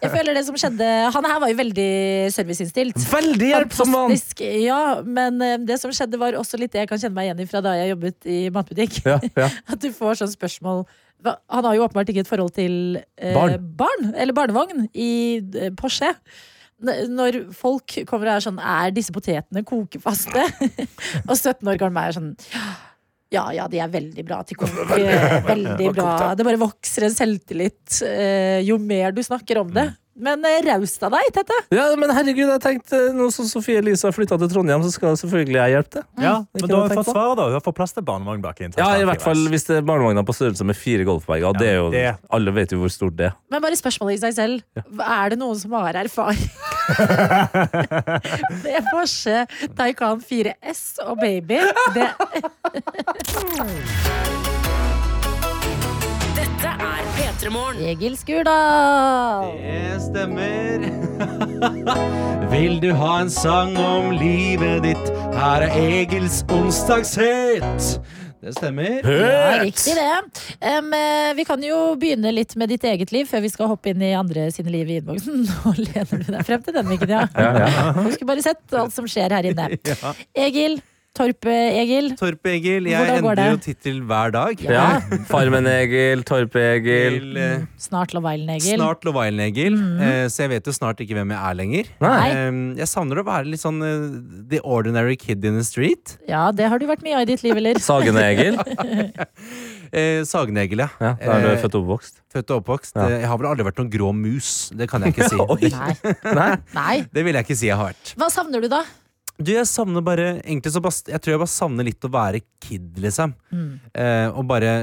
Jeg føler det som skjedde Han her var jo veldig serviceinnstilt.
Veldig hjelpsom mann!
Fantastisk. Ja, men eh, det som skjedde, var også litt det jeg kan kjenne meg igjen i fra da jeg jobbet i matbutikk.
Ja, ja.
<laughs> At du får sånn spørsmål Hva- Han har jo åpenbart ikke et forhold til eh, barn.
Barn.
eller barnevogn i eh, Porsche. N- Når folk kommer og er sånn Er disse potetene kokefaste? <laughs> og 17 år gammel meg er sånn ja, ja, de er veldig bra til kokk. Veldig bra. Det bare vokser en selvtillit eh, jo mer du snakker om
Mm.
det. Men eh, raust av deg, Tette.
Ja, men herregud, jeg tenkte Nå som Sofie Elise har flytta til Trondheim, så skal selvfølgelig jeg hjelpe til.
Ja,
ikke
men da har
noe å
vi
tenke
fått
på.
svaret, da. Du har fått plass til barnevogn bak i en
Ja,
Taycan
i hvert
4S.
fall hvis det er barnevogner på størrelse med fire golfbager. og Det er jo,
det-
Alle vet jo hvor stort det er.
Men bare spørsmålet i seg selv. Er det noen som har <laughs> erfaring? det er Porsche Taycan 4S og baby. Det,
Dette er P3morgen.
Egil Skurdal!
Det stemmer. <laughs> Vil du ha en sang om livet ditt? Her er Egils onsdagshit. Det stemmer.
Ja, riktig det. Em, eh, vi kan jo begynne litt med ditt eget liv før vi skal hoppe inn i andre sine liv i innboksen. <laughs> Nå lener du deg frem til den, Mikkel. Ja. Du skulle bare sett alt som skjer her <laughs> inne.
Ja.
Egil. Torpe-Egil.
Torp-Egil, jeg
Hvordan går
endrer jo
det?
tittel hver dag.
Ja. Farmen-Egil, Torpe-Egil
Til eh,
Snart Love Island-Egil.
snart Love Island-Egil.
Mhm.
eh, Så jeg vet jo snart ikke hvem jeg er lenger.
Nei.
Eh, Jeg savner å være litt sånn eh, the ordinary kid in the street.
Ja, det har du vært mye av i ditt liv, eller?
Sagene-Egil.
<laughs> Eh, Sagen-Egil, ja.
Ja, da er du
Eh,
født og oppvokst.
Født og oppvokst.
Ja.
Eh, Jeg har vel aldri vært noen grå mus. Det kan <laughs> jeg ikke si.
Oi.
Det,
Nei.
Nei.
Nei.
det vil jeg ikke si jeg har vært.
Hva savner du, da?
Du, jeg savner bare Egentlig så bare, Jeg tror jeg bare savner litt å være kid, liksom. Eh, og bare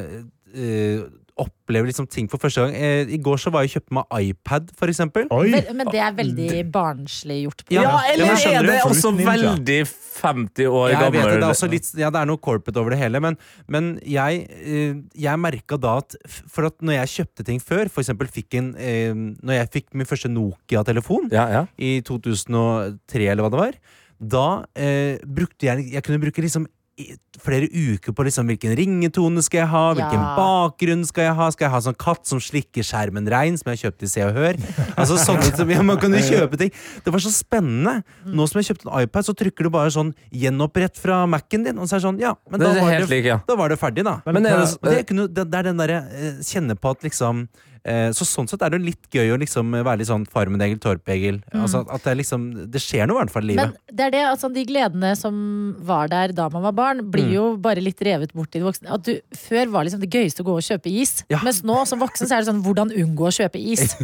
eh, oppleve liksom ting for første gang. Eh, I går så var jeg og kjøpte meg iPad, for eksempel.
Vel, men det er veldig barnslig gjort.
Ah,
på
Ja,
Ja, eller
men skjønner
er det
du, for
også
uten ninja.
veldig 50 år
Jeg vet
gammel
det, det er også litt, ja, det er noe corporate over det hele, men, men jeg, eh, jeg merka da at f- For at når jeg kjøpte ting før, for eksempel fikk en eh, Når jeg fikk min første Nokia-telefon
ja, ja.
i 2003, eller hva det var, da eh, brukte jeg Jeg kunne bruke liksom i- flere uker på liksom hvilken ringetone skal jeg ha, hvilken
Ja.
bakgrunn skal jeg ha. Skal jeg ha sånn katt som slikker skjermen rein, som jeg kjøpte i Se og Hør? Altså sånne som, ja, Man kan jo kjøpe ting. Det var så spennende. Nå som jeg kjøpte en iPad, så trykker du bare sånn 'gjenopprett fra Mac-en din', og så er det sånn, ja, men
Det
da
er
var
helt
det,
lik, ja.
da var det ferdig, da.
Men er det-
Og det, er ikke noe, det, det er den derre eh, kjenne på at liksom eh, Så sånn sett er det jo litt gøy å liksom eh, være litt sånn Farmen-Egil, Torp-Egil. Altså, at det er liksom Det skjer noe, i hvert fall, i
Mm. Men
livet.
det er det, altså, de gledene som var der da man var barn,
Mm.
blir jo bare litt revet bort i det voksne. At du, før var liksom det gøyeste å gå og kjøpe is,
Ja.
mens nå som voksen så er det sånn hvordan unngå å
<laughs>
kjøpe is?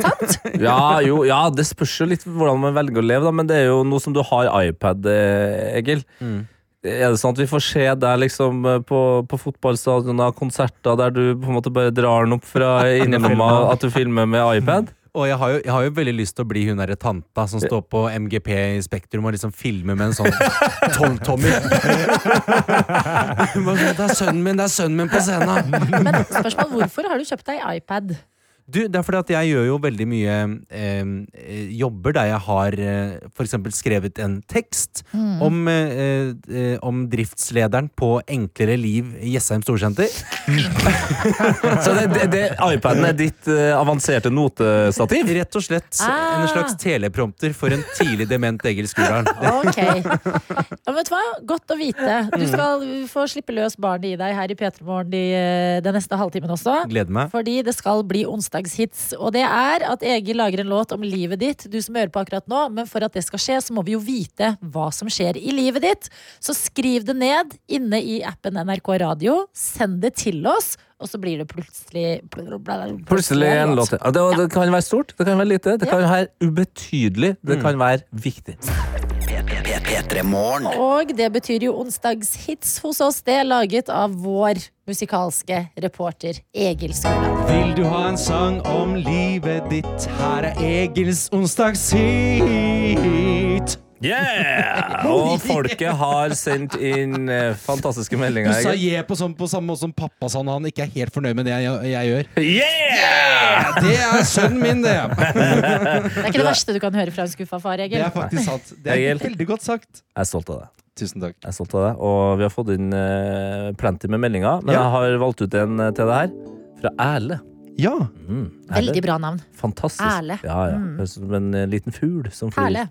Sant?
Ja, jo, ja, det spørs jo litt hvordan man velger å leve, da, men det er jo nå som du har iPad, eh, Egil.
Mm.
Er det sånn at vi får se deg liksom eh, på, på fotballstadioner, konserter, der du på en måte bare drar den
<laughs>
opp fra innerlomma, at du filmer med iPad?
Og jeg Mm. har, jo, jeg har jo veldig lyst til å bli hun derre tanta som står på MGP i Spektrum og liksom filmer med en sånn
<laughs>
tolvtommer. Hun bare, sånn, det er sønnen min, det er sønnen min på scenen!
Men spørsmål, hvorfor har du kjøpt deg iPad?
Du, det er fordi at jeg gjør jo veldig mye eh, eh, jobber der jeg har eh, for eksempel skrevet en tekst om, eh, eh, om driftslederen på Enklere liv i Jessheim Storsenter.
<laughs> Så det, det, det, iPaden er ditt eh, avanserte notestativ?
Rett og slett
Ah.
en slags teleprompter for en tidlig dement Egil Skurdalen.
Ok. Ja, men vet du hva? Godt å vite. Du
Mm.
skal få slippe løs barnet i deg her i P3morgen de, eh, den neste halvtimen også.
Gleder meg.
Fordi det skal bli onsdag. bursdagshits. Og det er at Egil lager en låt om livet ditt, du som hører på akkurat nå. Men for at det skal skje, så må vi jo vite hva som skjer i livet ditt. Så skriv det ned inne i appen NRK Radio. Send det til oss, og så blir det plutselig
Plutselig en låt. Ja, Det, det kan være stort, det kan være lite, det kan være ubetydelig, det kan være viktig.
P3morgen.
Og det betyr jo onsdagshits hos oss. Det er laget av vår musikalske reporter Egil Skåland.
Vil du ha en sang om livet ditt? Her er Egils onsdagshit.
Yeah! Og folket har sendt inn eh, fantastiske
Du
meldinger.
sa
Egil.
je på, sånn, på samme måte som pappa sa når han ikke er helt fornøyd med det jeg, jeg gjør.
Yeah!
Det er sønnen min, det! <laughs>
Det er ikke det verste du kan høre fra en skuffa far, Egil.
Det er faktisk sant. Det er
Egil.
veldig godt sagt.
Jeg er stolt av deg.
Tusen takk.
Jeg er stolt av deg. Og vi har fått inn eh, plenty med meldinger, men
Ja.
jeg har valgt ut en eh, til deg her. Fra Erle.
Ja.
Mm, Erle.
Veldig bra navn.
Fantastisk.
Erle.
Ja, ja. Høres ut som en eh, liten fugl som flyr.
Herlig.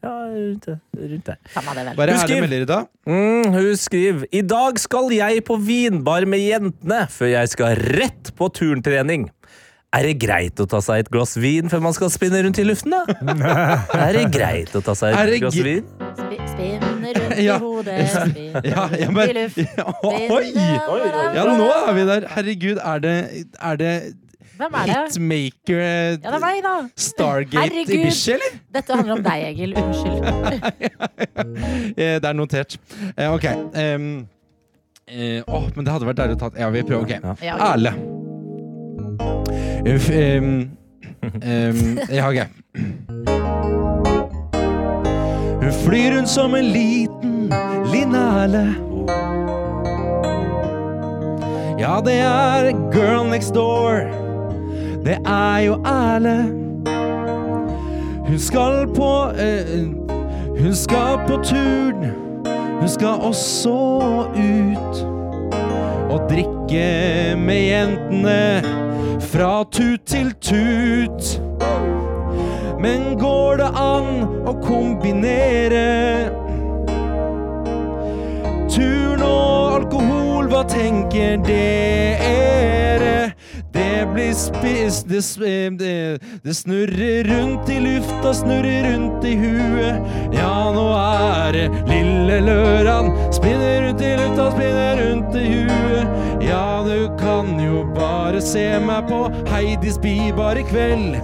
Ja, rundt, det- rundt der.
Samme det, vel.
Hva er det
Husker-
Erle melder i dag?
Mm, hun skriver I dag skal jeg på vinbar med jentene før jeg skal rett på turntrening. Er det greit å ta seg et glass vin før man skal spinne rundt i luften, da? Er det greit å ta seg
Er
et
det
glass
gre-
vin?
Spi- Spinner rundt i
<laughs> Ja.
hodet, spinner
Ja, ja,
rundt i
men,
luft.
oi! Ja, nå er vi der. Herregud, er det, er det
Hvem er det?
Hitmaker eh,
Ja, det er meg, da.
Stargate i
Herregud.
Bishy, eller?
Dette handler om deg, Egil. Unnskyld.
<laughs> Eh, Det er notert. Eh, ok. ehm, eh, åh, men det hadde vært deilig å ta Ja, vi prøver. Ok.
Ja, ok.
Erle. Uff, ehm, ehm, ja, ok. Hun flyr rundt som en liten linale. Ja, det er girl next door. Det er jo Erle. Hun skal på eh, hun skal på turn, hun skal også ut og drikke med jentene fra tut til tut. Men går det an å kombinere turn og alkohol? Hva tenker dere? Det blir spist det, sp- eh, det, det snurrer rundt i lufta, snurrer rundt i huet. Ja, nå er det lille lørdag. Spinner rundt i lufta, spinner rundt i huet. Ja, du kan jo bare se meg på Heidis bibar i kveld.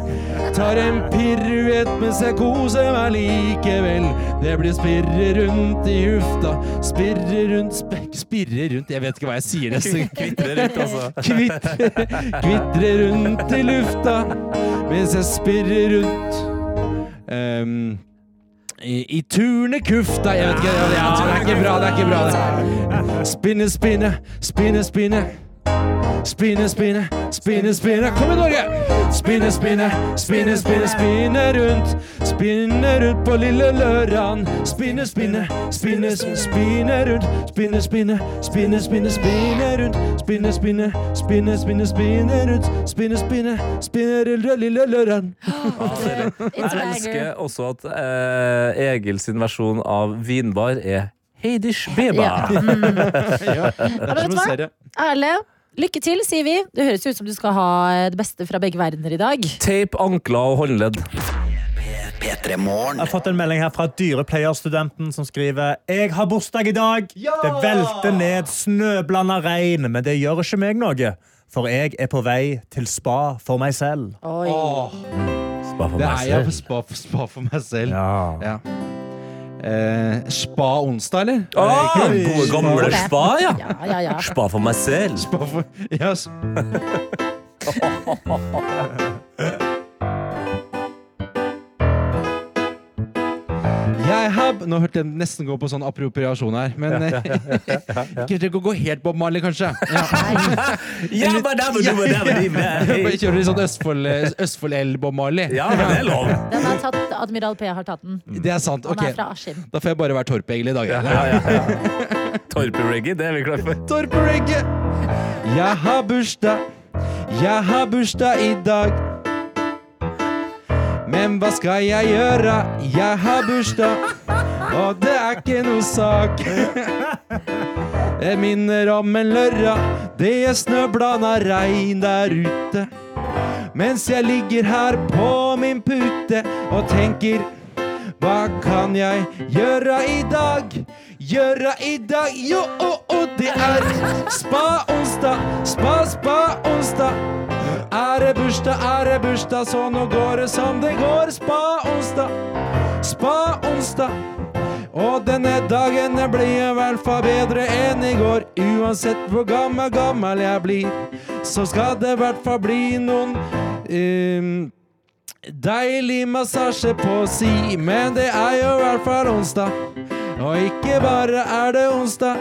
Tar en piruett mens jeg koser meg likevel. Det blir spirre rundt i hufta, spirre rundt, spek, spirre rundt Jeg vet ikke hva jeg sier nesten.
Kvitrer rundt, altså.
Kvitre, kvitre rundt i lufta mens jeg spirrer rundt. Ehm, i, I turnekufta Jeg vet ikke, det, det, det er ikke bra, det er ikke bra. det. Spinne, spinne, spinne, spinne. Spinne, spinne, spinne, spinne. Kom igjen, Norge! Spinne, spinne, spinne, spinne, spinne rundt. Spinne rundt på lille lørdagen. Spinne, spinne, spinne, spinne, spinne rundt. Spinne, spinne, spinne, spinne, spinne rundt. Spinne, spinne, spinne, spinne, spinne rundt. Spinne, spinne, spinne rundt på lille lørdagen.
It's
Jeg
Bagger.
elsker også at eh, Egil sin versjon av vinbar er Heidish
Ja.
Beba.
Ja, det
vet du hva? Erle, lykke til, sier vi. Det høres ut som du skal ha det beste fra begge verdener i dag.
Teip ankler og håndledd.
P3morgen.
Jeg har fått en melding her fra dyrepleierstudenten som skriver Jeg har bursdag i dag. Det velter ned snøblanda regn, men det gjør ikke meg noe. For jeg er på vei til spa for meg selv.
Oi.
Spa for
Det
meg
er jeg
selv.
på spa, spa for meg selv.
Ja.
Ja. Eh, spa onsdag, eller?
Ah,
Nei, ikke-
gode gamle
det.
spa, ja.
Ja, ja, ja.
Spa for meg
<laughs>
selv.
Spa for, ja, s- Jeg har, nå hørte jeg nesten gå på sånn appropriasjon her, men eh, <laughs> Ikke trenger å gå helt Bob Marley, kanskje. Ja.
Ja, men det var- det var- det var- det var-
<laughs> Bare Kjører litt sånn Østfold- Østfold-L-Bob Marley.
Ja, men det er lov.
Den er tatt, Admiral P har tatt den.
Det er sant.
Han
ok.
er fra Askim.
Da får jeg bare være Torp egentlig i dag.
Torpe-reggae, det er vi klare for.
Torp Regge. Jeg har bursdag, jeg har bursdag i dag. Men hva skal jeg gjøre? Jeg har bursdag, og det er ikke noe sak. Det minner om en lørdag, det er snøblanda regn der ute. Mens jeg ligger her på min pute og tenker Hva kan jeg gjøre i dag? Gjøre i dag? Jo, og, og det er spa-onsdag, spa-spa-onsdag. Er det bursdag, er det bursdag, så nå går det som det går. Spa-onsdag, spa-onsdag. Og denne dagen jeg blir i hvert fall bedre enn i går. Uansett hvor gammel, gammel jeg blir, så skal det i hvert fall bli noen ehm, Deilig massasje på si, men det er jo i hvert fall onsdag. Og ikke bare er det onsdag,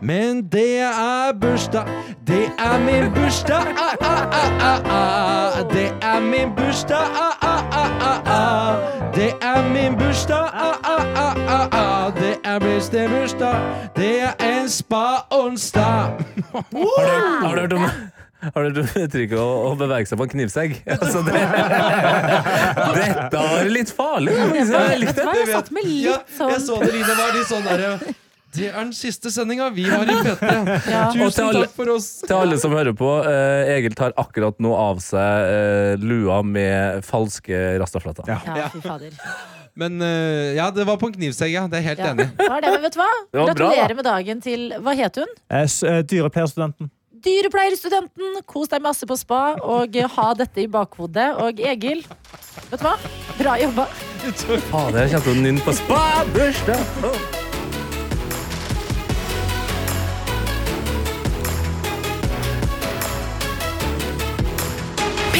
men det er bursdag. Det er min bursdag, ah, ah, ah, ah, ah. Det er min bursdag, ah, ah, ah, ah, ah. Det er min bursdag, ah, ah, ah, ah, ah. Det er beste bursdag. Det er en spa-onsdag.
Har du, har du hørt om har du hørt om uttrykket å, å bevege seg på en knivsegg? Altså det, dette var litt farlig. må jeg si. Jeg likte det.
Du vet. Ja, Jeg så det, Line var litt sånn derre Det er den siste sendinga vi har i P3.
Og til
Tusen
alle-
takk for oss.
Til alle som hører på, eh, Egil tar akkurat nå av seg eh, lua med falske rastafletter.
Ja, fy fader.
Men eh, ja, det var på en knivsegg, ja. Det er jeg helt
Ja.
enig.
Det var det, men vet du hva?
Det var bra, da.
Gratulerer med dagen til Hva het hun?
Eh, Dyrepleierstudenten.
Dyrepleierstudenten. Kos deg masse på spa, og eh, ha dette i bakhodet. Og Egil, vet du hva? Bra jobba.
Fader, jeg kjente å nynne på spa! Bursdag!